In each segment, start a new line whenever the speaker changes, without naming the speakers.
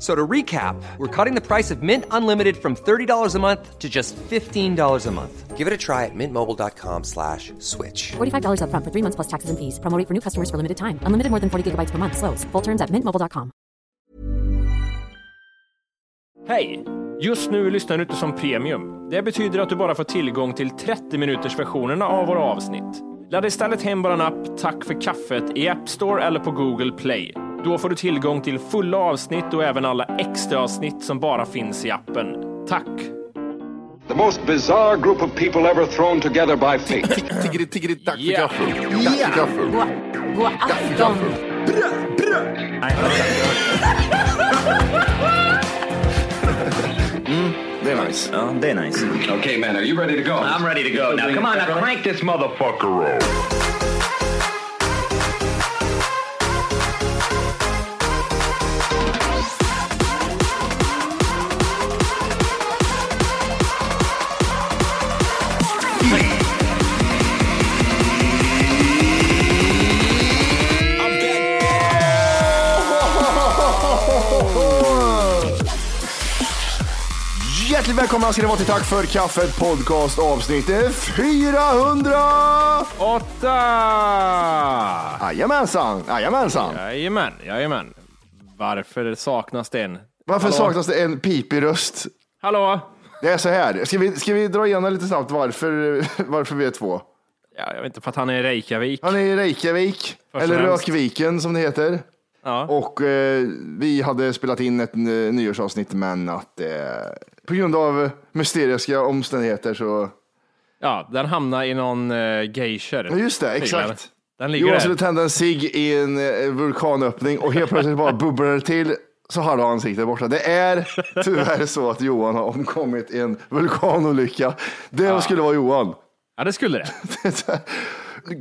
So to recap, we're cutting the price of Mint Unlimited from $30 a month to just $15 a month. Give it a try at mintmobile.com slash switch.
$45 upfront for three months plus taxes and fees. Promo rate for new customers for limited time. Unlimited more than 40 gigabytes per month. Slows. Full terms at mintmobile.com.
Hej! Just nu lyssnar du inte som premium. Det betyder att du bara får tillgång till 30 minuters versionerna av våra avsnitt. Ladda istället hem bara en app, Tack för kaffet, i App Store eller på Google Play. Då får du tillgång till fulla avsnitt och även alla extra avsnitt som bara finns i appen. Tack!
The most bizarre group of people ever thrown together by fate.
Tiggeri, tiggeri, tack för
Yeah.
kaffet. Tack för kaffet.
God afton!
Det är nice.
Ja, det är nice.
okay, man, are you ready to go?
I'm ready to go now. Come on, now crank this motherfucker up.
Hjärtligt välkomna ska ni vara till Tack för kaffet podcast avsnitt 400!
Åtta!
Jajamensan, jajamensan.
Jajamän, jajamän. Varför saknas det en?
Varför
Hallå?
saknas det en pipig röst?
Hallå?
Det är så här, ska vi, ska vi dra igenom lite snabbt varför, varför vi är två?
Ja, jag vet inte, för att han är i Reykjavik.
Han är i Reykjavik,
och
eller
främst.
Rökviken som det heter.
Ja.
Och eh, vi hade spelat in ett eh, nyårsavsnitt, men att eh, på grund av eh, mysteriska omständigheter så
Ja, den hamnar i någon uh, geisher.
Ja, just det,
Tydligen.
exakt. alltså
Den ligger
Johan
där.
skulle tända en cigg i en eh, vulkanöppning och helt plötsligt bara bubblar det till så halva ansiktet är borta. Det är tyvärr så att Johan har omkommit i en vulkanolycka. Det skulle vara Johan.
Ja, det skulle det.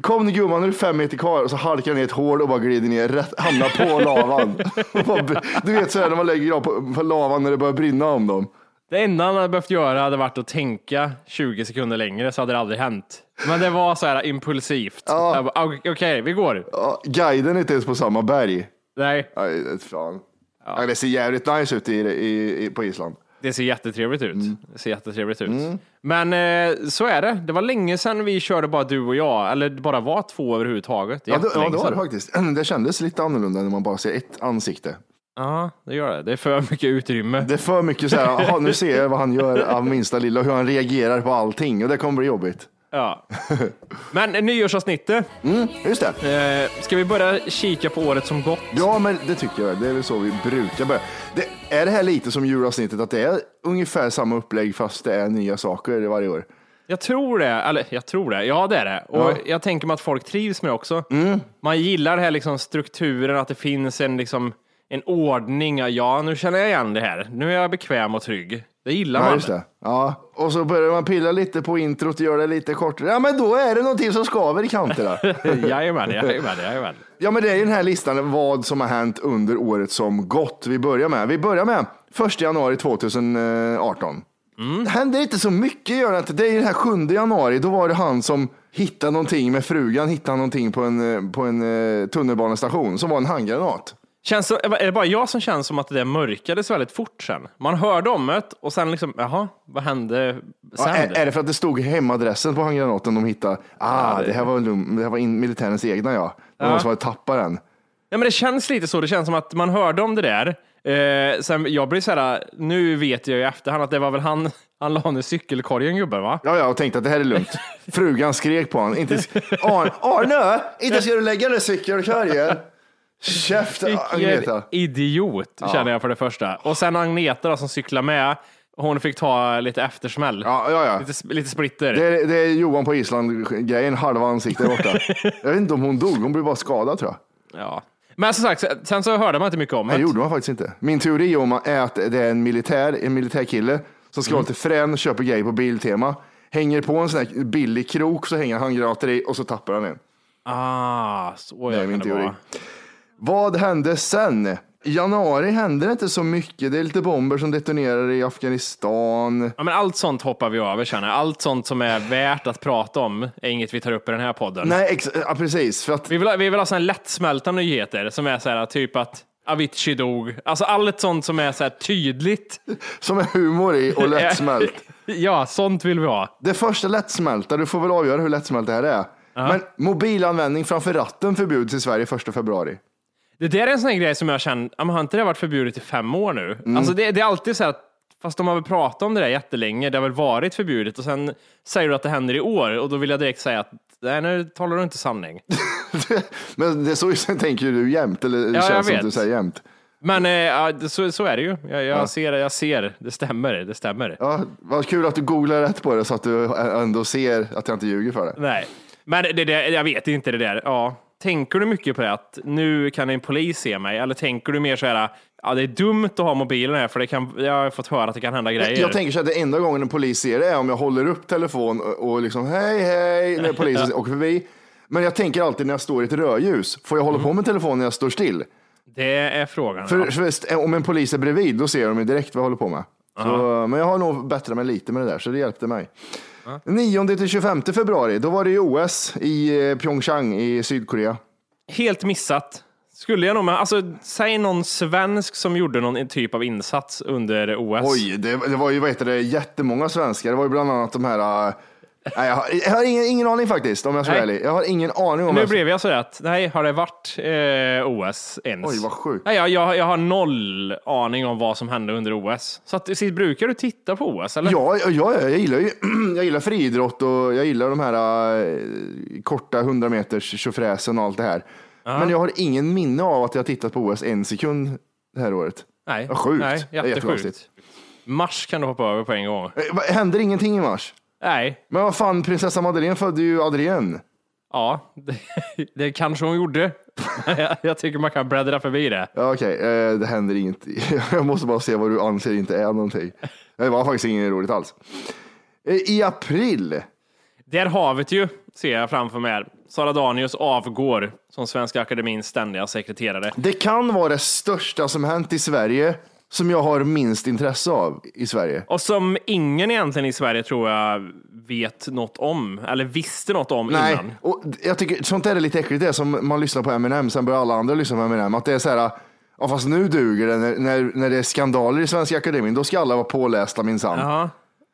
Kom nu gumman, nu är det fem meter kvar och så halkar han i ett hål och bara glider ner, rätt, hamnar på lavan. Och bara br- du vet så här när man lägger grav på, på lavan när det börjar brinna om dem.
Det enda han hade behövt göra hade varit att tänka 20 sekunder längre så hade det aldrig hänt. Men det var så här impulsivt. Jag bara, "Ah, Okej, vi går.
Ja, guiden är inte ens på samma berg.
Nej,
Aj, fan. Ja. Det ser jävligt nice ut i, i, i, på Island.
det ser jättetrevligt ut.
Mm.
Det ser jättetrevligt ut. Men eh, så är det. Det var länge sedan vi körde bara du och jag, eller det bara var två överhuvudtaget.
Ja, det, ja,
Jättelänge
det var
sedan.
det faktiskt. Det kändes lite annorlunda när man bara ser ett ansikte.
Ja, det gör det. Det är för mycket utrymme.
Det är för mycket så här, "Aha, nu ser jag vad han gör av minsta lilla, hur han reagerar på allting och det kommer bli jobbigt.
Ja. Men eh, nyårsavsnittet.
Just det.
Eh, ska vi börja kika på året som gått?
Ja, men det tycker jag. Det är väl så vi brukar börja. Det, är det här lite som julavsnittet, att det är ungefär samma upplägg fast det är nya saker varje år?
Jag tror det. Eller jag tror det. Ja, det är det. Och jag tänker mig att folk trivs med det också.
Mm.
Man gillar det här liksom strukturen, att det finns en, liksom, en ordning. Ja, nu känner jag igen det här. Nu är jag bekväm och trygg. Det gillar
Ja,
man.
just det. Ja. Och så börjar man pilla lite på introt och göra det lite kortare. Ja, men då är det någonting som skaver i kanterna.
jajamän, jajamän, jajamän.
Ja, men det är ju den här listan vad som har hänt under året som gått. Vi börjar med, vi börjar med 1 januari 2018. Det händer inte så mycket, gör det inte. Det är ju den här 7 januari, då var det han som hittade någonting med frugan, hittade någonting på en, eh, på en eh, tunnelbanestation som var en handgranat.
Känns som, är det bara jag som känns som att det där mörkades väldigt fort sen? Man hörde om det och sen liksom, jaha, vad hände sen?
Ja, är, är det för att det stod hemadressen på handgranaten de hittade? Ah, det här var, lum- det här var in, militärens egna ja. Det var någon som hade tappat den.
Ja, men det känns lite så. Det känns som att man hörde om det där. Eh, sen jag blir så här, nu vet jag i efterhand att det var väl han, han la ner cykelkorgen gubben va?
Ja, ja, och tänkte att det här är lugnt. Frugan skrek på honom. Inte, Arne, Arne, inte ska du lägga den cykelkorgen. Käft
Vilken
Agneta.
idiot, känner jag för det första. Och sen Agneta då, som cyklar med, hon fick ta lite eftersmäll.
Ja, ja, ja.
Lite, s- lite splitter.
Det är, det är Johan på Island-grejen, halva ansiktet är borta. jag vet inte om hon dog, hon blev bara skadad tror jag.
Ja. Men som sagt, sen så hörde man inte mycket om
Det
det.
gjorde man faktiskt inte. Min teori om är att det är en militär, en militärkille som ska vara lite frän, köper grejer på Biltema, hänger på en sån här billig krok, så hänger han granater i och så tappar han en.
Ah, så
Det
jag
är min
kan det
teori.
vara.
Vad hände sen? I januari hände det inte så mycket. Det är lite bomber som detonerar i Afghanistan.
Ja, men allt sånt hoppar vi över känner jag. Allt sånt som är värt att prata om är inget vi tar upp i den här podden.
Nej, ex- ja, precis. För att
Vi vill ha, vi vill ha sådana lättsmälta nyheter som är så här, typ att Avicii dog. Alltså allt sånt som är så här tydligt.
Som är humor i och lättsmält.
ja, sånt vill vi ha.
Det första lättsmälta, du får väl avgöra hur lättsmält det här är. Men mobilanvändning framför ratten förbjuds i Sverige 1 februari.
Det där är en sån här grej som jag känner, ja, men har inte det varit förbjudet i fem år nu? Alltså det, det är alltid så här, att- fast de har väl pratat om det där jättelänge, det har väl varit förbjudet och sen säger du att det händer i år och då vill jag direkt säga att nej, nu talar du inte sanning.
Men det är så jag tänker ju du jämt, eller det
jag
känns som
vet.
att du säger jämt.
Men eh, ja, det- så, så är det ju. Jag, jag ser det, jag ser. Det stämmer, det stämmer.
Ja, vad kul att du googlar rätt på det så att du ändå ser att jag inte ljuger för det.
Nej, men det, det, jag vet inte det där. Ja. Tänker du mycket på det att nu kan en polis se mig? Eller tänker du mer så här, ja, det är dumt att ha mobilen här för det kan, jag har fått höra att det kan hända grejer.
Jag tänker så att det enda gången en polis ser det är om jag håller upp telefon och- och liksom hej hej när polisen åker förbi. Men jag tänker alltid när jag står i ett rödljus, får jag hålla på med telefonen när jag står still?
det är frågan.
För,
ja.
för visst, om en polis är bredvid, då ser de ju direkt vad jag håller på med. Så, men jag har nog bättrat mig lite med det där, så det hjälpte mig. 9 till 25 februari, då var det ju OS i eh, Pyeongchang i Sydkorea.
Helt missat. Skulle jag nog, men alltså, säg någon svensk som gjorde någon typ av insats under OS.
Oj, det, det var ju vad heter det, jättemånga svenskar. Det var ju bland annat de här... eh, Nej, jag har, jag har ingen, ingen aning faktiskt, om jag ska vara
Nej.
ärlig. Jag har ingen aning om...
Nu
vem-
blev jag så där att, nej, har det varit eh, OS ens?
Oj, vad sjukt.
Nej, jag, jag, jag har noll aning om vad som hände under OS. Så att, Sid, brukar du titta på OS? Eller?
Ja, ja, ja, jag gillar ju jag gillar friidrott och jag gillar de här eh, korta 100 meters tjofräsen och allt det här. Men jag har ingen minne av att jag har tittat på OS en sekund det här året.
Nej,
Vad sjukt.
nej
Det är
jättesjukt.
jättekonstigt.
Mars kan du hoppa över på en gång.
Eh, vad- Händer ingenting i mars?
Nej,
Men vad fan, prinsessa Madeleine födde ju Adrienne.
ja, det, det kanske hon gjorde. jag, jag tycker man kan bläddra förbi det.
Ja, Okej, eh, det händer inget. Jag måste bara se vad du anser inte är någonting. Det var faktiskt inget roligt alls. Eh, I april,
Där havet ju, ser jag framför mig. här. Sara Danius avgår som Svenska Akademins ständiga sekreterare.
det kan vara det största som hänt i Sverige som jag har minst intresse av i Sverige.
Och som ingen egentligen i Sverige tror jag vet något om, eller visste något om
Nej,
innan.
och jag tycker sånt där är lite äckligt. Det är som man lyssnar på Eminem, sen börjar alla andra lyssna på Eminem. Att det är så här, ja fast nu duger det. När, när, när det är skandaler i Svenska Akademin, då ska alla vara pålästa minsann.
Ja.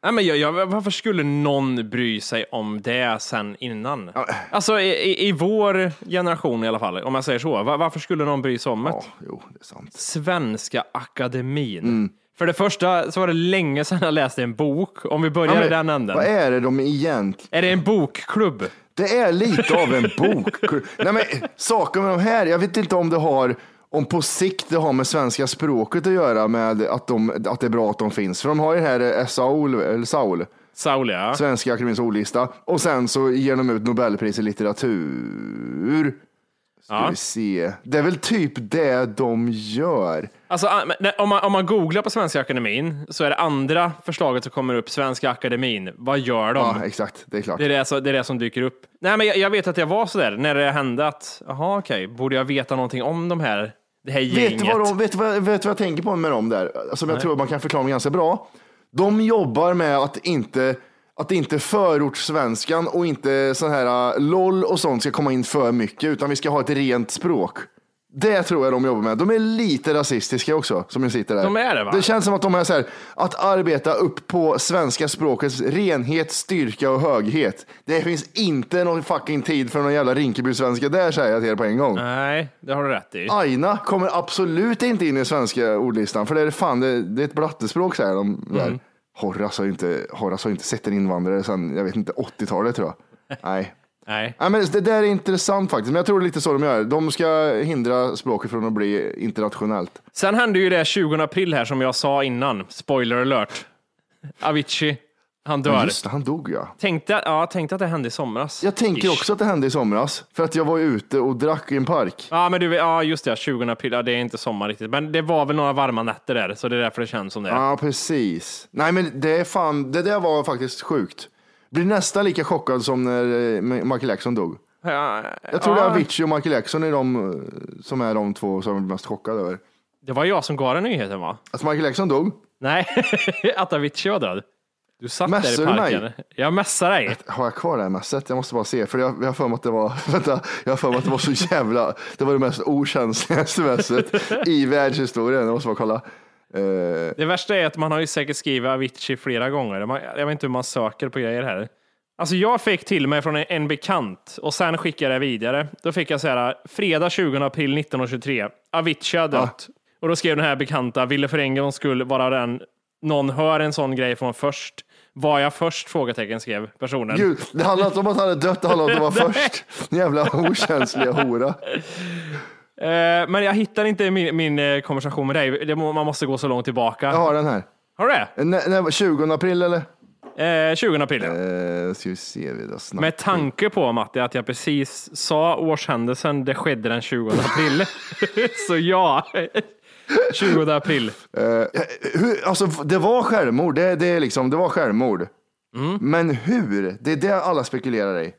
Nej, men jag, jag, varför skulle någon bry sig om det sen innan? Alltså i, i, i vår generation i alla fall, om jag säger så. Va- varför skulle någon bry sig om det?
Ja, jo, det är sant.
Svenska Akademin.
Mm.
För det första så var det länge sedan jag läste en bok, om vi börjar i den änden.
vad
Är...
är det de egentligen?
det en bokklubb?
Det är lite av en bok. Nej, men, saker med de här, jag vet inte om det har om på sikt det har med svenska språket att göra med att, de, att det är bra att de finns. För de har ju det här SAOL, eller SAOL,
Saulia?
Svenska Akademiens ordlista. Och sen så ger de ut Nobelpris i litteratur. Ska
Ja.
vi se. Det är väl typ det de gör.
Alltså, a- men det- om, man, om man googlar på Svenska Akademin så är det andra förslaget som kommer upp, Svenska Akademin. Vad gör de?
Ja, exakt. Det är klart.
Det är det, så, det är det som dyker upp. Nej, men jag, jag vet att jag var sådär när det hände att, jaha okej, borde jag veta någonting om de här, det här
Vet
gänget?
du, vad de, vet, du vad, vet du vad jag tänker på med dem där? Som jag tror man kan förklara ganska bra. De jobbar med att inte, att inte förortssvenskan och inte sån här äh, LOL och sånt ska komma in för mycket, utan vi ska ha ett rent språk. Det tror jag de jobbar med. De är lite rasistiska också, som jag sitter där.
De är det, va?
Det känns som att de är så här, att arbeta upp på svenska språkets renhet, styrka och höghet. Det finns inte någon fucking tid för någon jävla Rinkeby-svenska där, säger jag till er på en gång.
Nej, det har du rätt i.
Aina kommer absolut inte in i svenska ordlistan, för det är fan, det, det är ett blattespråk säger de. Där. Horace, har ju inte, Horace har ju inte sett en invandrare sedan, jag vet inte, 80-talet tror jag. Nej.
Nej.
Ja, men det där är intressant faktiskt, men jag tror det är lite så de gör. De ska hindra språket från att bli internationellt.
Sen hände ju det 20 april här som jag sa innan. Spoiler alert. Avicii, han
Ja,
dör.
just det, han dog ja.
Tänkte, ja, tänkte att det hände i somras.
Jag tänker
Ish.
också att det hände i somras, för att jag var ju ute och drack i en park.
Ja, men du, vet- ja, just det. 20 april. Ja, det är inte sommar riktigt. Men det var väl några varma nätter där, så det är därför det känns som det.
Ja, precis. Nej, men det är fan, det där var faktiskt sjukt. Blir nästan lika chockad som när eh, Michael Jackson dog.
Ja,
Jag tror det
ja,
är Avicii och Michael Jackson är de eh, som är de två som jag blir mest chockad över.
det var jag som gav den nyheten, va?
Att Michael Jackson dog?
Nej, att Avicii var död. Du satt
Mässar
där
du
i parken. Jag mässade dig.
Har jag kvar det här mässet? Jag måste bara se, för jag jag har för mig att det var, vänta, jag har för mig att det var så jävla, det var det mest okänsligaste mässet i världshistorien. Jag måste bara kolla. Eh,
Det värsta är att man har ju säkert skrivit Avicii flera gånger. Man, jag vet inte hur man söker på grejer här. Alltså jag fick till mig från en, en bekant och sen skickade jag det vidare. Då fick jag så här, fredag 20 april 1923, Avicii har dött. Och då skrev den här bekanta, ville för en gångs skull vara den, någon hör en sån grej från först. Var jag först? Frågetecken skrev personen.
Gud, det handlar inte om att han är dött, det handlar om att han var först. Jävla okänsliga hora.
Eh, men jag hittar inte min, min eh, konversation med dig. Det, må- man måste gå så långt tillbaka.
Jag har den här.
Har du det?
När, när, 20 april eller?
Eh, 20 april. ja.
Eh, ska vi se, vi snabbt.
Med tanke på Matti att jag precis sa årshändelsen, det skedde den 20 april. så ja, 20 april.
Eh, hur, alltså, det var självmord, det, det, är liksom, det var självmord. Men hur? Det är det alla spekulerar i.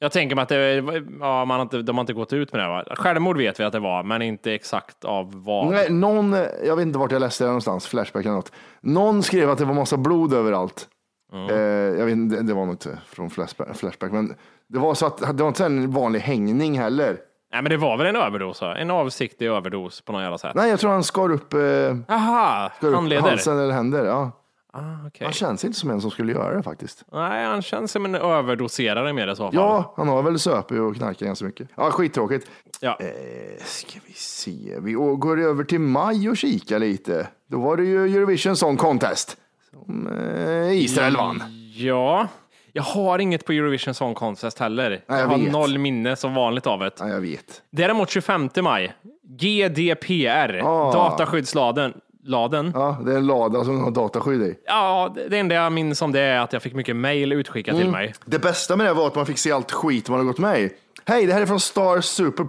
Jag tänker mig att det, ja, man har inte, de har inte gått ut med det. Va? Självmord vet vi att det var, men inte exakt av vad.
Nej, någon, jag vet inte vart jag läste det någonstans, Flashback eller något. Någon skrev att det var massa blod överallt. Eh, jag vet inte, det var nog inte från Flashback, flashback men det var, så att, det var inte en vanlig hängning heller.
Nej, men det var väl en överdos? va? En avsiktlig överdos på något jävla sätt.
Nej, jag tror han skar upp, eh,
Aha,
skar upp
handleder.
halsen eller händer. Ja.
Ah, okej.
Han känns inte som en som skulle göra det faktiskt.
Nej, han känns som en överdoserare med det i så fall.
Ja, han har väl söpit och knarkat ganska mycket. Ja, skittråkigt.
Ja.
Eh, ska vi se. Vi å- går över till maj och kikar lite. Då var det ju Eurovision Song Contest. Som eh, Israel vann.
Ja, jag har inget på Eurovision Song Contest heller.
jag
jag har
vet.
noll minne som vanligt av det.
Ja, jag vet.
Däremot 25 maj, GDPR,
Ah.
dataskyddsladen. Laden. Ja.
Ja, det är en lada som har dataskydd i.
det det enda jag minns om det är att jag fick mycket mejl utskickat
Mm.
till mig.
Det bästa med det var att man fick se allt skit man har gått med i. Hej, det här är från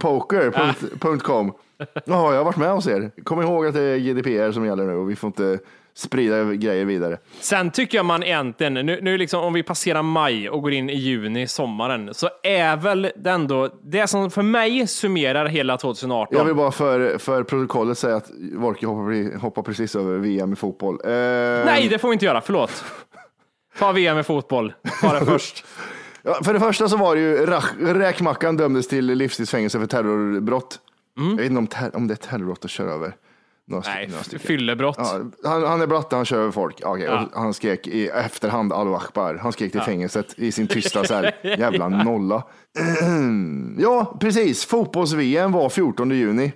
Ah. starsuperpoker.com. Ja, jag har varit med hos er. Kom ihåg att det är GDPR som gäller nu och vi får inte sprida grejer vidare.
Sen tycker jag man egentligen, nu, nu liksom om vi passerar maj och går in i juni, sommaren, så är väl det ändå, det som för mig summerar hela 2018.
Jag vill bara för, för protokollet säga att Wolke hoppar, pre- hoppar precis över VM i fotboll. Eh,
Nej, det får vi inte göra, förlåt. Ta VM i fotboll, ta det först.
Ja, för det första så var det ju Rach- räkmackan dömdes till livstidsfängelse för terrorbrott. Jag vet inte om, ter- om det är terrorbrott att köra över. Några st-
Mm. Nej,
några stycken.
fyllebrott.
Ja, han, han är blatte, han kör över folk. Ja, okej.
Ja.
Och Han skrek i efterhand Allahu Akbar. Han skrek till fängelset i sin tysta så här, jävla nolla. ja, precis. Fotbolls-VM var 14 juni.
Mm.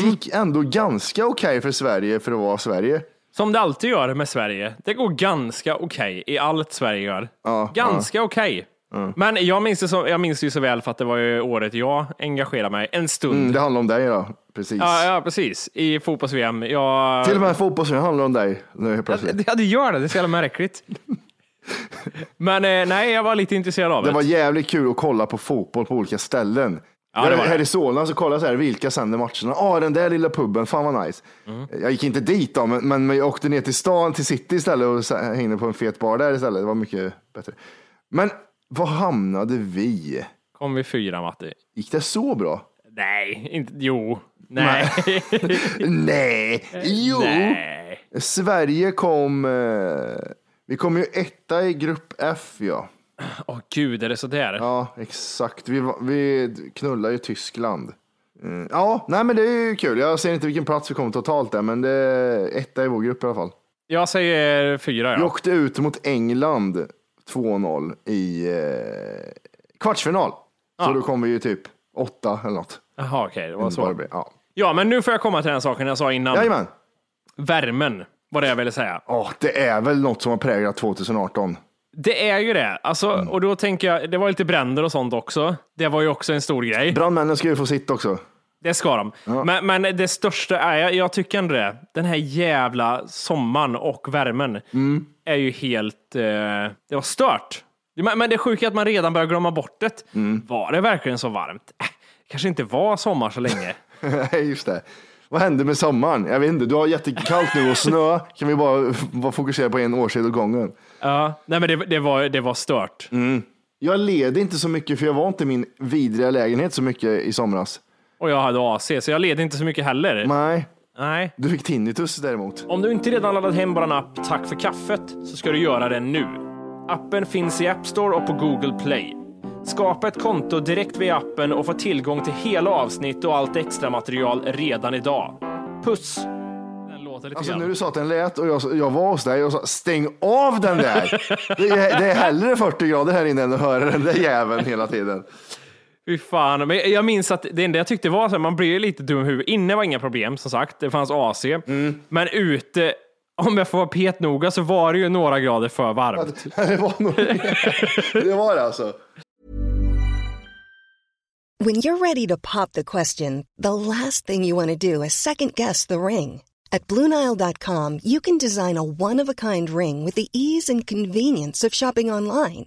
Det gick ändå ganska okej för Sverige för att vara Sverige.
Som det alltid gör med Sverige. Det går ganska okej i allt Sverige gör. ganska okej. Men jag minns, det så, jag minns det ju så väl för att det var ju året jag engagerade mig en stund.
Mm, Det handlar om dig då, precis.
Ja, ja, precis. I fotbolls-VM. Jag...
Till och med fotbolls-VM handlar om dig nu helt plötsligt.
Ja, det gör det. Det är så jävla märkligt. Men eh, nej, jag var lite intresserad av det.
Det var jävligt kul att kolla på fotboll på olika ställen.
det var
Där-
det.
Här i Solna så kollade jag så här, vilka sänder matcherna? Ja, den där lilla puben, fan vad nice.
Mm.
Jag gick inte dit då, men, men jag åkte ner till stan, till city istället och så- hängde på en fet bar där istället. Det var mycket bättre. Men var hamnade vi?
Kom vi fyra, Matti?
Gick det så bra?
Nej, inte... Jo. Nej.
Nej, jo.
nej.
Sverige kom, eh, vi kom ju etta i grupp F ja.
Åh gud, är det så där?
Ja, exakt. Vi, var- vi knullar ju Tyskland. Mm. Ja, nej men det är ju kul. Jag ser inte vilken plats vi kom totalt där, men det är etta i vår grupp i alla fall.
Jag säger fyra, ja.
Vi åkte ut mot England 2-0 i eh, kvartsfinal. Så då kom vi ju typ åtta eller något.
Jaha, okej. det var
Vad det
så.
blev. Ja.
Ja, men nu får jag komma till den saken jag sa innan.
Mm, Jajamän.
Värmen var det jag ville säga.
Ja, det är väl något som har präglat 2018.
Det är ju det. Alltså, Och då tänker jag, det var lite bränder och sånt också. Det var ju också en stor grej.
Brandmännen ska ju få sitt också.
Det ska de. Men, men det största är, jag, jag tycker ändå det, den här jävla sommaren och värmen är ju helt, eh, det var stört. Men, men det sjuka är att man redan börjar glömma bort det. Var det verkligen så varmt? Äh, kanske inte var sommar så länge.
Nej, just det. Vad hände med sommaren? Jag vet inte, du har jättekallt nu och snö. Kan vi bara vara fokuserade på en årstid åt gången?
ja, nej men det, det, var, det var stört.
Jag led inte så mycket för jag var inte i min vidriga lägenhet så mycket i somras.
Och jag hade AC, så jag led inte så mycket heller.
Nej,
nej.
du fick tinnitus däremot.
Om du inte redan laddat hem bara en app Tack för kaffet så ska du göra det nu. Appen finns i App Store och på Google Play. Skapa ett konto direkt via appen och få tillgång till hela avsnitt och allt extra material redan idag. Puss! Den låter lite
Alltså
grann.
när du sa att den lät och jag, sa- jag var hos dig och sa stäng av den där. Det är, det är hellre 40 grader här inne än att höra den där jäveln hela tiden.
Fy fan. Men jag minns att det enda jag tyckte var så här, man blir ju lite dum i huvudet. Inne var inga problem, som sagt. Det fanns AC.
Mm.
Men ute, om jag får vara petnoga, så var det ju några grader för varmt.
Det var, nog, det var det alltså.
When you're ready to pop the question, the last thing you want to do is second guess the ring. At Bluenile.com, you can design a one of a kind ring with the ease and convenience of shopping online.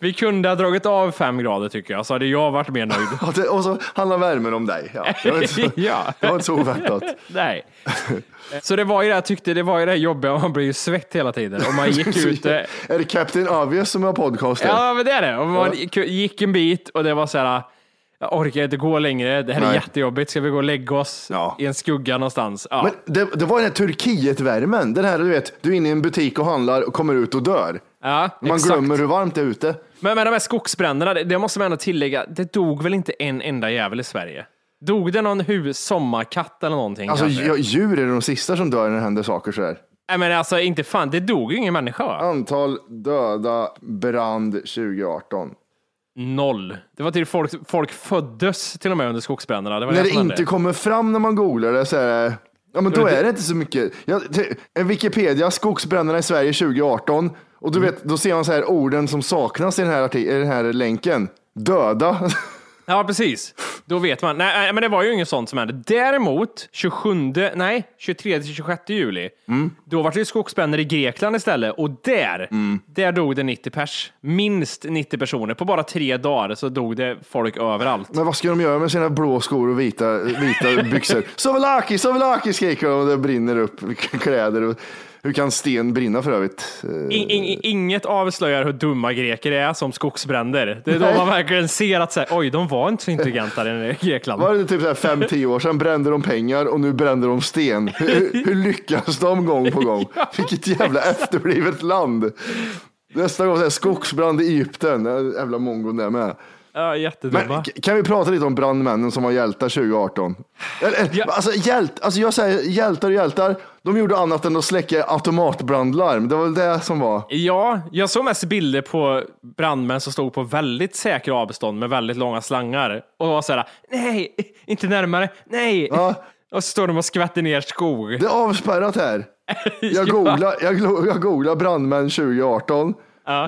Vi kunde ha dragit av fem grader tycker jag, så hade jag varit mer nöjd.
Och, det, och så handlar värmen om dig. Ja, det, var inte så,
Ja.
det var inte så oväntat.
Nej. Så det var ju det jag tyckte, det var ju det här jobbiga, och man blir ju svett hela tiden. Och man gick ute.
Är det Captain Obvious som har podcasten?
Ja, men det är det. Och man gick en bit och det var så här, jag orkar inte gå längre, det här är
Nej.
jättejobbigt, ska vi gå och lägga oss
Ja.
i en skugga någonstans? Ja.
Men det, det var den här Turkiet-värmen. Den här du vet, du är inne i en butik och handlar och kommer ut och dör.
ja,
Man
exakt.
glömmer hur varmt det är ute.
Men med de här skogsbränderna, det- det måste man ändå tillägga, det dog väl inte en enda jävel i Sverige? Dog det någon hus, sommarkatt eller någonting?
Alltså
kanske?
ja, djur är de sista som dör när det händer saker sådär.
Nej, men alltså inte fan, det dog ju ingen människa. va?
Antal döda brand 2018.
Noll. Det var till folk, folk föddes till och med under skogsbränderna. Det var
När
det
det
som hände.
inte kommer fram när man googlar det så är det, ja men då
det-
är det inte så mycket. Ja, t- en Wikipedia, skogsbränderna i Sverige 2018 och du vet, då ser man så här orden som saknas i den här, arti- i den här länken. Döda.
Ja, precis. Då vet man. Nej, nej, men det var ju inget sånt som hände. Däremot, 27, nej, 23-26 juli, då var det ju skogsbränder i Grekland istället. Och där, där dog det 90 pers. Minst 90 personer. På bara tre dagar så dog det folk överallt.
Men vad ska de göra med sina blå skor och vita, vita byxor? Sovelaki, Sovelaki skriker de och det brinner upp kläder. Och hur kan sten brinna för övrigt? Eh,
In, in, inget avslöjar hur dumma greker är som skogsbränder. Det är då
Nej.
man verkligen ser att så här, oj, de var inte så intelligenta i Grekland.
Var det typ så här fem, tio år sedan brände de pengar och nu brände de sten. Hur, hur lyckas de gång på gång? Vilket jävla efterblivet land. Nästa gång så här, skogsbrand i Egypten. Ja, Jävla mongon där med.
Ja,
Men,
jättedumma.
k- kan vi prata lite om brandmännen som var hjältar 2018? Eller, eller,
Ja.
alltså, hjält, alltså jag säger hjältar och hjältar. De gjorde annat än att släcka automatbrandlarm. Det var väl det som var.
Ja, jag såg mest bilder på brandmän som stod på väldigt säkra avstånd med väldigt långa slangar och var såhär, nej, inte närmare, nej.
Ja.
Och så står de och skvätter ner skog.
Det är avspärrat här. Jag googlar, jag, glo- jag googlar brandmän 2018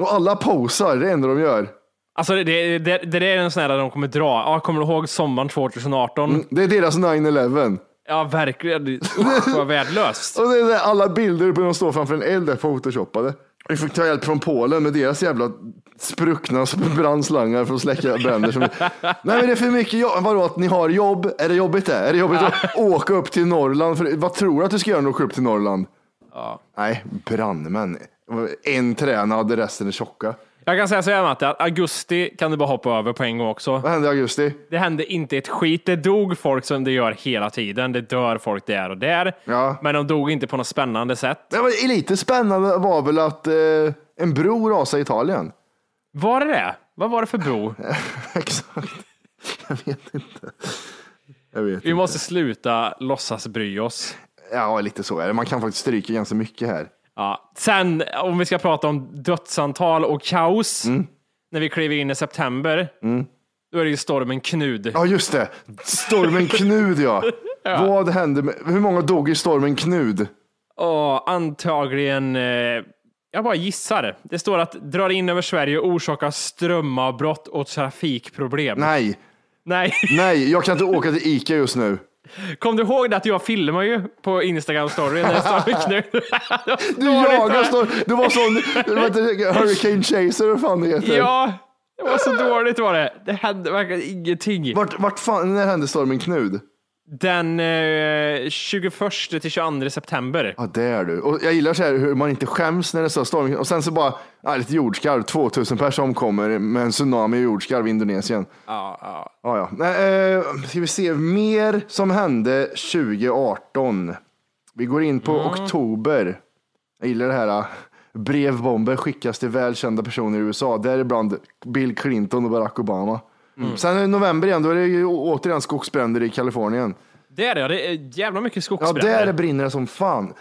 och alla posar. Det är det enda de gör.
Alltså det, det, det, det är en sån här där de kommer dra. Ja, kommer du ihåg sommaren 2018?
Det är deras 9-11.
Ja, verkligen. Usch, vad värdelöst.
Och det är där alla bilder på de står framför en eld är photoshoppade. Vi fick ta hjälp från Polen med deras jävla spruckna brandslangar för att släcka bränder. Som... Nej men det är för mycket jobb. Vadå att ni har jobb? Är det jobbigt det? Är det jobbigt att åka upp till Norrland? För... Vad tror du att du ska göra när du åker upp till Norrland? Nej, brandmän. En tränad, resten är tjocka.
Jag kan säga så här Matte, att augusti kan du bara hoppa över på en gång också.
Vad hände i augusti?
Det hände inte ett skit. Det dog folk som det gör hela tiden. Det dör folk där och där.
Ja.
Men de dog inte på något spännande sätt.
Det var lite spännande var väl att eh, en bro rasade i Italien.
Var det det? Vad var det för bro?
Exakt. Jag vet inte. Jag vet
Vi måste sluta låtsas bry oss.
Ja, lite så är det. Man kan faktiskt stryka ganska mycket här.
Ja. Sen om vi ska prata om dödsantal och kaos.
Mm.
När vi kliver in i september, då är det ju stormen Knud.
Ja, just det. Stormen Knud, ja. Vad hände med, hur många dog i stormen Knud?
Och antagligen, eh, jag bara gissar. Det står att drar in över Sverige och orsakar strömavbrott och trafikproblem.
Nej,
Nej.
nej, jag kan inte åka till Ica just nu.
Kom du ihåg det att jag filmar ju på Instagram story när det står med Knud?
Du jagar storm, du var sån, du vet, inte, Hurricane Chaser, vad fan det heter.
Ja, det var så dåligt var det. Det hände verkligen ingenting.
Vart, vart fan, när hände stormen Knud?
Den eh, 21 till 22 september.
Ja, det är du. Och jag gillar så här hur man inte skäms när det står storm. Och sen så bara, ja, lite jordskarv, 2000 personer omkommer med en tsunami och jordskarv i Indonesien.
Ja, ja.
Ja, ja. Nej, eh, ska vi se mer som hände 2018. Vi går in
Mm.
på oktober. Jag gillar det här. eh, Brevbomber skickas till välkända personer i USA, däribland Bill Clinton och Barack Obama.
Mm.
Sen är det november igen, då är det ju å- återigen skogsbränder i Kalifornien.
Det är det, ja. det är jävla mycket
Ja,
skogsbränder.
där brinner det som fan.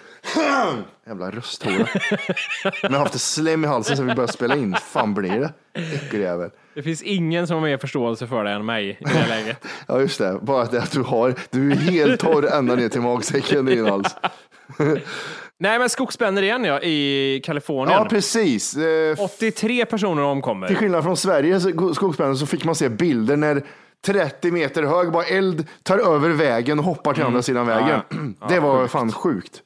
Jävla rösthåla. Men jag har haft ett slem i halsen sen vi började spela in. Fan blir det? Äckeljävel.
Det finns ingen som har mer förståelse för det än mig i det här läget.
Ja, just det. Bara det att du har, du är helt torr ända ner till magsäcken i din hals.
Nej, men skogsbränder igen ja, i Kalifornien.
Ja, precis. Eh, f-
83 personer
Till
omkommer.
skillnad från Sverige, så- go- skogsbränder, så fick man se bilder när 30 meter hög bara eld tar över vägen och hoppar till andra sidan vägen. det var fan Mm. sjukt.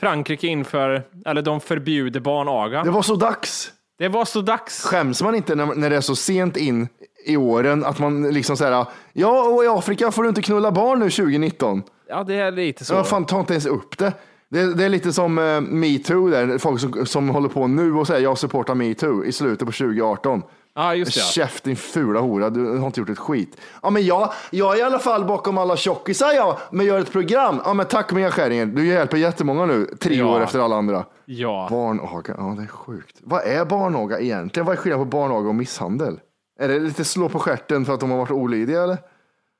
Frankrike inför, eller de förbjuder barnaga.
Det var så dags.
Det var så dags.
Skäms man inte när, när det är så sent in i åren att man liksom säger ja, och i Afrika får du inte knulla barn nu 2019.
Ja, det är lite så.
Ja, fan, ta inte ens upp det. Det, det är lite som eh, metoo, där folk som, som håller på nu och säger jag supportar metoo i slutet på 2018.
Ja, just det, ja.
Käft din fula hora, du har inte gjort ett skit. Ja, men jag, jag är i alla fall bakom alla tjockisar jag, men gör ett program. Ja, men tack Mia Skäringer, du hjälper jättemånga nu, tre
Ja.
år efter alla andra.
Ja.
Barnaga, ja det är sjukt. Vad är barnaga egentligen? Vad är skillnaden på barnaga och misshandel? Är det lite slå på stjärten för att de har varit olydiga eller?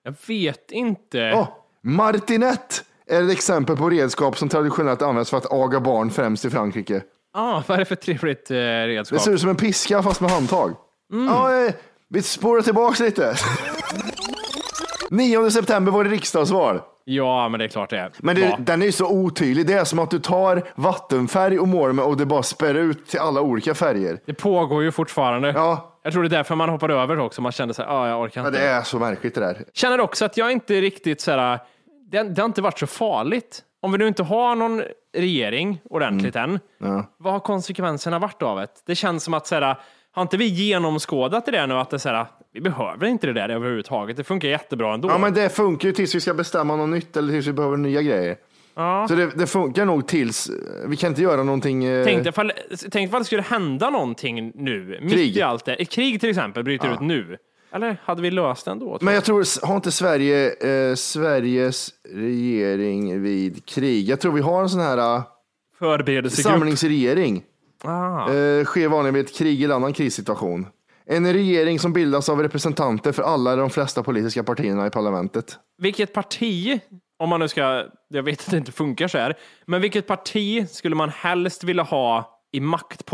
Jag vet inte.
Ja, martinett är ett exempel på redskap som traditionellt används för att aga barn främst i Frankrike.
Ah, vad är det för trevligt eh,
Det
redskap?
ser ut som en piska fast med handtag. Ja, eh, vi spårar tillbaks lite. 9 september var det riksdagsval.
Ja, men det är klart det är.
Men det,
Ja.
den är ju så otydlig. Det är som att du tar vattenfärg och målar med och det bara spär ut till alla olika färger.
Det pågår ju fortfarande.
Ja.
Jag tror det är därför man hoppade över också. Man kände så här, ah, jag orkar
Ja,
inte.
det är så märkligt det där.
Känner också att jag inte riktigt så här, det, det har inte varit så farligt. Om vi nu inte har någon regering ordentligt
Mm.
än, vad har konsekvenserna varit av det? Det känns som att så här, har inte vi genomskådat det där nu att det så här, vi behöver inte det där överhuvudtaget. Det funkar jättebra ändå.
Ja, men det funkar ju tills vi ska bestämma något nytt eller tills vi behöver nya grejer. Så det, det funkar nog tills vi kan inte göra någonting. eh,
Tänk dig ifall, tänk ifall det skulle hända någonting nu, mitt
Krig.
i allt det. Ett krig till exempel bryter ut nu. Eller hade vi löst det ändå? tror
Men jag tror, har inte Sverige, eh, Sveriges regering vid krig? Jag tror vi har en sån här eh,
Förberedelsegrupp.
samlingsregering.
Ah.
Eh, sker vanligen vid ett krig eller annan krissituation. En regering som bildas av representanter för alla eller de flesta politiska partierna i parlamentet.
Vilket parti, om man nu ska, jag vet att det inte funkar så här, men vilket parti skulle man helst vilja ha i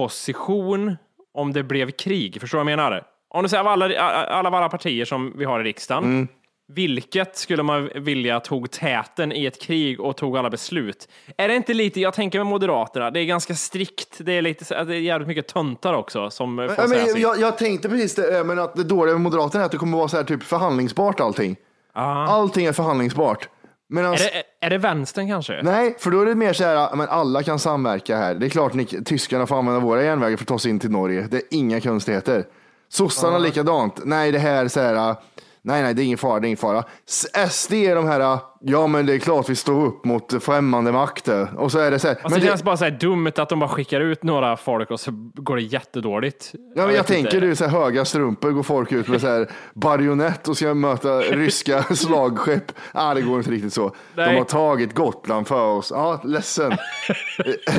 maktposition om det blev krig? Förstår du vad jag menar? Om du säger av alla, alla, alla partier som vi har i riksdagen,
Mm.
vilket skulle man vilja tog täten i ett krig och tog alla beslut? Är det inte lite, jag tänker med Moderaterna, det är ganska strikt, det är, lite, så- det är jävligt mycket töntar också som får
Ja,
säga
men,
sitt.
jag, jag tänkte precis det, eh, men att det dåliga med Moderaterna är att det kommer vara så här typ förhandlingsbart allting. Allting är förhandlingsbart. Medan,
Är det, är det vänstern kanske?
Nej, för då är det mer så här, ja, men alla kan samverka här. Det är klart ni, tyskarna får använda våra järnvägar för att ta sig in till Norge. Det är inga konstigheter. Sossarna likadant. Nej, det här så här, ja, nej, nej, det är ingen fara, det är ingen fara. S- SD är de här, ja, ja, men det är klart vi står upp mot främmande makter. Och så är det så här.
Alltså,
men
det
det,
känns bara så här dumt att de bara skickar ut några folk och så går det jättedåligt.
Ja, men jag,
vet
tänker
inte.
du så här, höga strumpor går folk ut med så här bajonett och ska möta ryska slagskepp. Ah, det går inte riktigt så. De
Nej.
har tagit Gotland för oss. Ja, ledsen.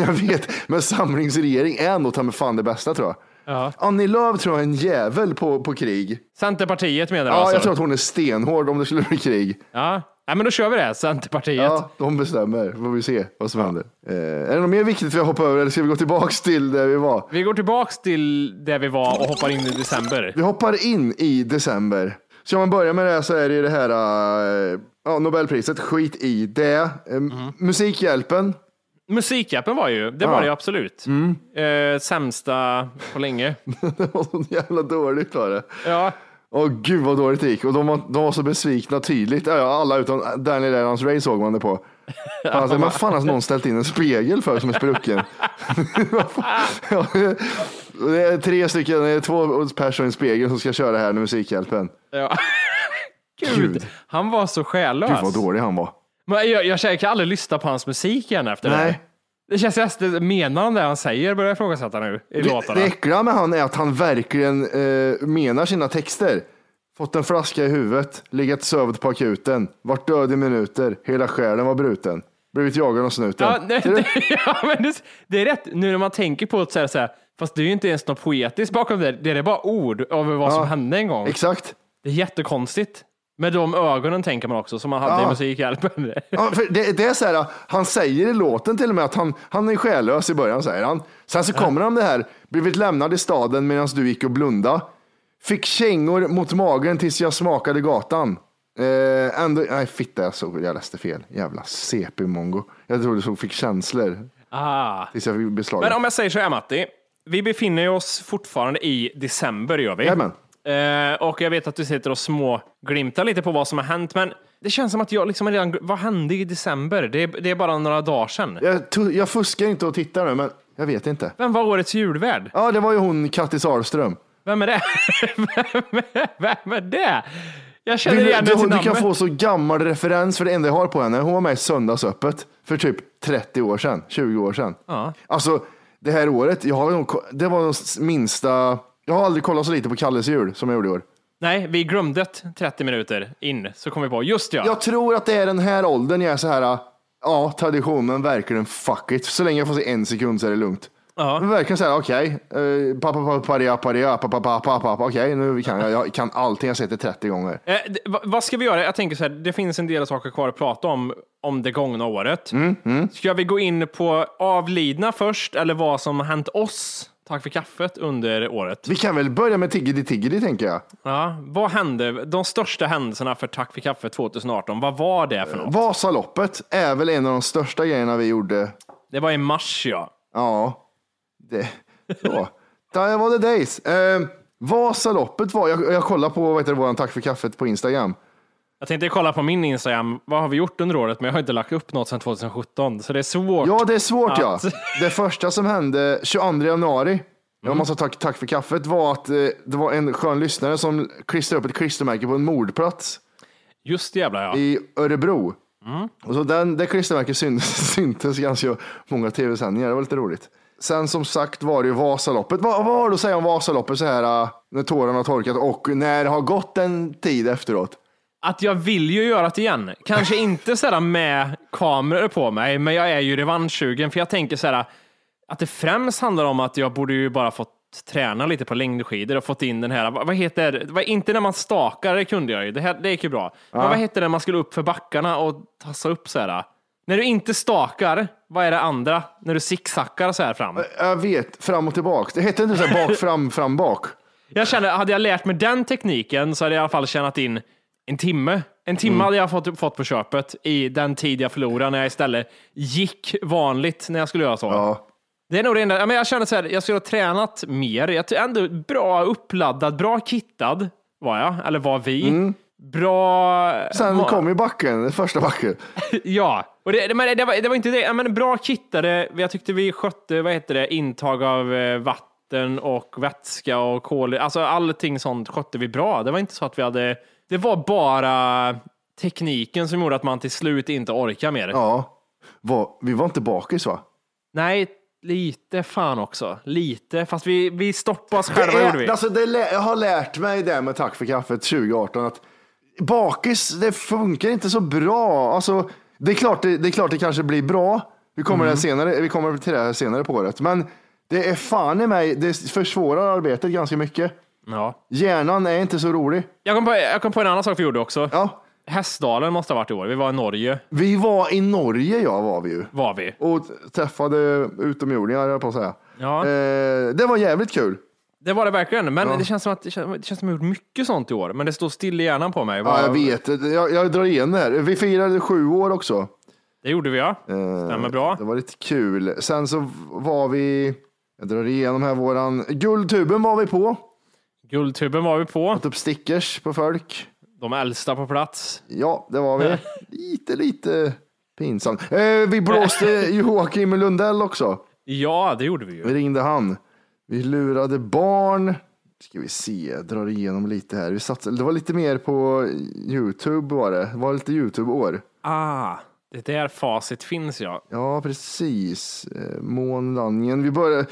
jag vet, men samlingsregering är nog ta med fan det bästa tror jag.
Ja.
Annie Lööf tror jag är en jävel på, på krig.
Centerpartiet menar du
Ja,
alltså?
jag tror att hon är stenhård om det skulle bli krig.
Ja. Nej, men då kör vi det. Centerpartiet.
Ja, de bestämmer. Får vi se vad som händer. Eh, är det något mer viktigt vi hoppar över eller ska vi gå tillbaks till där vi var?
Vi går tillbaks till där vi var och hoppar in i december.
Vi hoppar in i december. Ska man börja med det här så är det ju det här eh, ja, Nobelpriset, skit i det. Eh, Musikhjälpen,
Musikappen var ju, det
Ja. Mm.
var det ju absolut. Eh, sämsta på länge.
det var så jävla dåligt var det.
Ja.
Åh gud vad dåligt det gick och de var, de var så besvikna tydligt. Ja, ja, alla utom Daniel Adams Ray såg man det på. Han sa, vad fan har någon ställt in en spegel för som är sprucken? Ja, det är tre stycken, det är två personer i en spegel som ska köra här med Musikhjälpen.
ja. Gud.
Gud.
han var så själlös.
Gud vad dålig han var.
Men jag, jag, jag kan aldrig lyssna på hans musik igen efter det. här.
Nej.
Det känns nästan, menar han det han säger? Börjar jag ifrågasätta nu i
Det,
låtarna.
det äckliga med han är att han verkligen eh, menar sina texter. Fått en flaska i huvudet, legat sövd på akuten, varit död i minuter, hela själen var bruten. Blivit jagad av snuten.
Ja, nej,
Ser du?
det, ja, men det, det är rätt, nu när man tänker på det så, här, så här, fast det är ju inte ens något poetiskt bakom det. Det är bara ord över vad som hände en gång.
Exakt.
Det är jättekonstigt. Med de ögonen tänker man också, som han hade
Ja.
i Musikhjälpen.
Ja, för det, det är så här, han säger i låten till och med att han, han är själlös i början, säger han. Sen så kommer han med det här, blivit lämnad i staden medan du gick och blunda. Fick kängor mot magen tills jag smakade gatan. Eh, ändå, nej, fitta, jag, såg, jag läste fel. Jävla CP-mongo. Jag trodde du fick känslor
Ah.
tills jag fick beslag.
Men om jag säger så här Matti, vi befinner oss fortfarande i december gör vi.
Jajamän.
Eh, och jag vet att du sitter och små glimtar lite på vad som har hänt, men det känns som att jag liksom redan, vad hände i december? Det är, det är bara några dagar sedan.
jag, to- jag fuskar inte och tittar nu, men jag vet inte.
Vem var årets julvärd?
Ja, det var ju hon, Kattis Ahlström.
Vem är det? vem, är, vem är det? Jag känner
Vill
igen henne
du,
till
du, du
namnet.
kan få så gammal referens för det enda jag har på henne. Hon var med i Söndagsöppet för typ 30 år sedan, 20 år sedan.
Ja.
Alltså det här året, jag har, nog ko- det var den minsta, jag har aldrig kollat så lite på Kalles jul som jag gjorde i år.
Nej, vi glömde det 30 minuter in, så kom vi på, just ja.
Jag tror att det är den här åldern jag är så här, äh, ja traditionen verkligen fuck it. Så länge jag får se en sekund så är det lugnt.
Ja.
Men verkligen så här, okej, eh, okay. pappa, pappa, paria, paria, pappa, pappa, pappa, okej, nu kan jag, jag kan allting, jag har sett det 30 gånger.
Eh, d- va- vad ska vi göra? Jag tänker så här, det finns en del saker kvar att prata om, om det gångna året.
Mm,
Ska vi gå in på avlidna först, eller vad som har hänt oss, tack för kaffet, under året?
Vi kan väl börja med Tiggedy Tiggedy tänker jag.
Ja, vad hände? De största händelserna för Tack för kaffet 2018, vad var det
Eh,
för något?
Vasaloppet är väl en av de största grejerna vi gjorde.
Det var i mars, ja.
Ja, det så. Där var det days. Eh, Vasaloppet var, jag, jag kollar på vad heter det, våran Tack för kaffet på Instagram.
Jag tänkte kolla på min Instagram, vad har vi gjort under året? Men jag har inte lagt upp något sedan 2017, så det är svårt.
Ja, det är svårt ja.
Att-
Det första som hände 22 januari, om man sa tack, tack för kaffet, var att eh, det var en skön lyssnare som klistrade upp ett klistermärke på en mordplats
Just jävlar, ja.
i Örebro. Och så den, det klistermärket syntes, syntes ganska många tv-sändningar, det var lite roligt. Sen som sagt var det ju Vasaloppet. Vad, vad har du att säga om Vasaloppet så här eh, när tårarna har torkat och när det har gått en tid efteråt?
att jag vill ju göra det igen. Kanske inte sådär med kameror på mig, men jag är ju revanschsugen för jag tänker sådär att det främst handlar om att jag borde ju bara fått träna lite på längdskidor och fått in den här, vad vad heter, vad, inte när man stakar, det kunde jag ju, det, här, det gick ju bra. Men vad hette det när man skulle upp för backarna och tassa upp sådär? När du inte stakar, vad är det andra? När du zigzaggar så här fram?
Jag vet, fram och tillbaka. Det hette inte så här bak, fram, fram, bak.
Jag känner, hade jag lärt mig den tekniken så hade jag i alla fall tjänat in en timme. En timme
Mm.
hade jag fått, fått på köpet i den tid jag förlorade när jag istället gick vanligt när jag skulle göra så.
Ja.
Det är nog det enda. ja, Men jag känner så här, jag skulle ha tränat mer. Jag är ändå bra uppladdad, bra kittad var jag, eller var vi. Bra...
Mm. Sen
ma-
kom ju backen, den första backen.
Ja, och det, men det, var, det var inte det. Ja, Men bra kittade. Jag tyckte vi skötte vad heter det, intag av eh, vatten och vätska och kol. Alltså allting sånt skötte vi bra. Det var inte så att vi hade... Det var bara tekniken som gjorde att man till slut inte orkar mer.
Ja. Var, vi var inte bakis va?
Nej, lite fan också. Lite. Fast vi, vi stoppade oss
Det
själva gjorde vi.
är, alltså det, lä- jag har lärt mig det med Tack för kaffet 2018 att bakis, det funkar inte så bra. Alltså, det, är klart det, det är klart det kanske blir bra. Vi kommer,
Mm.
det senare, vi kommer till det här senare på året. Men det är fan i mig, det försvårar arbetet ganska mycket.
Ja.
Hjärnan är inte så rolig.
Jag, kom på, jag kom på en annan sak vi gjorde också.
Ja.
Hästdalen måste ha varit i år. Vi var i Norge,
Vi var i Norge, ja var vi ju.
var vi.
Och träffade utomjordingar, höll jag på att säga.
Ja.
Eh, det var jävligt kul.
Det var det verkligen, men det känns som att det känns, det känns som att jag gjort mycket sånt i år. Men det står still i hjärnan på mig.
Ja,
Vad-
jag vet, jag, jag drar igen det här. Vi firade sju år också.
Det gjorde vi ja. Stämmer bra.
Eh, Det var lite kul. Sen så var vi, jag drar igenom här våran, Guldtuben var vi på.
Guldtuben var vi på.
Åt upp stickers på folk.
De äldsta på plats.
Ja, det var vi. Lite, lite pinsamt. Eh, vi blåste Joakim Lundell också.
Ja, det gjorde vi ju.
Vi ringde han. Vi lurade barn. Ska vi se, jag drar igenom lite här. Vi satsade, det var lite mer på YouTube var det. Det var lite YouTube-år.
Ah, det där facit finns ja.
Ja, precis. Eh, Månlandningen. Vi börjar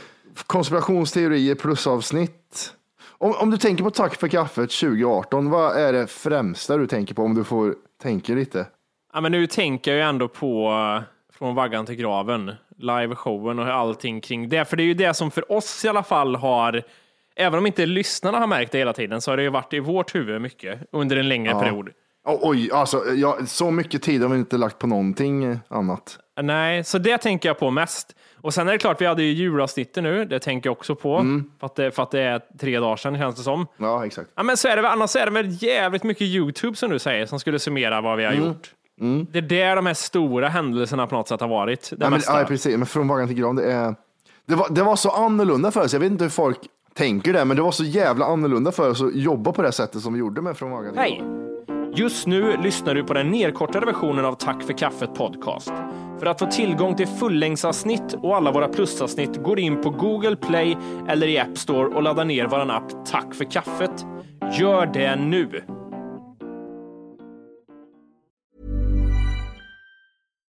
konspirationsteorier plus avsnitt. Om, om du tänker på Tack för kaffet 2018, vad är det främsta du tänker på om du får tänka lite?
ja men nu tänker jag ju ändå på eh, Från vaggan till graven, liveshowen och allting kring det. För det är ju det som för oss i alla fall har, även om inte lyssnarna har märkt det hela tiden, så har det ju varit i vårt huvud mycket under en längre period.
Oh, oj, alltså, ja, så mycket tid har vi inte lagt på någonting annat.
Nej, så det tänker jag på mest. Och sen är det klart, vi hade ju julavsnittet nu. Det tänker jag också på.
Mm.
För, att det, för att det är tre dagar sedan känns det som.
Ja, exakt.
Ja, men så är det väl. Annars är det väl jävligt mycket YouTube som du säger som skulle summera vad vi
Mm.
har gjort. Det är där de här stora händelserna på något sätt har varit. Det
Ja, men,
mesta.
ja, precis. Men från vaggan till gran, det, är, det, var, det var så annorlunda för oss. Jag vet inte hur folk tänker det, men det var så jävla annorlunda för oss att jobba på det sättet som vi gjorde med Från vaggan till
Hej! Just nu lyssnar du på den nedkortade versionen av Tack för kaffet podcast. För att få tillgång till fullängdsavsnitt och alla våra plusavsnitt går in på Google Play eller i App Store och laddar ner vår app Tack för kaffet. Gör det nu!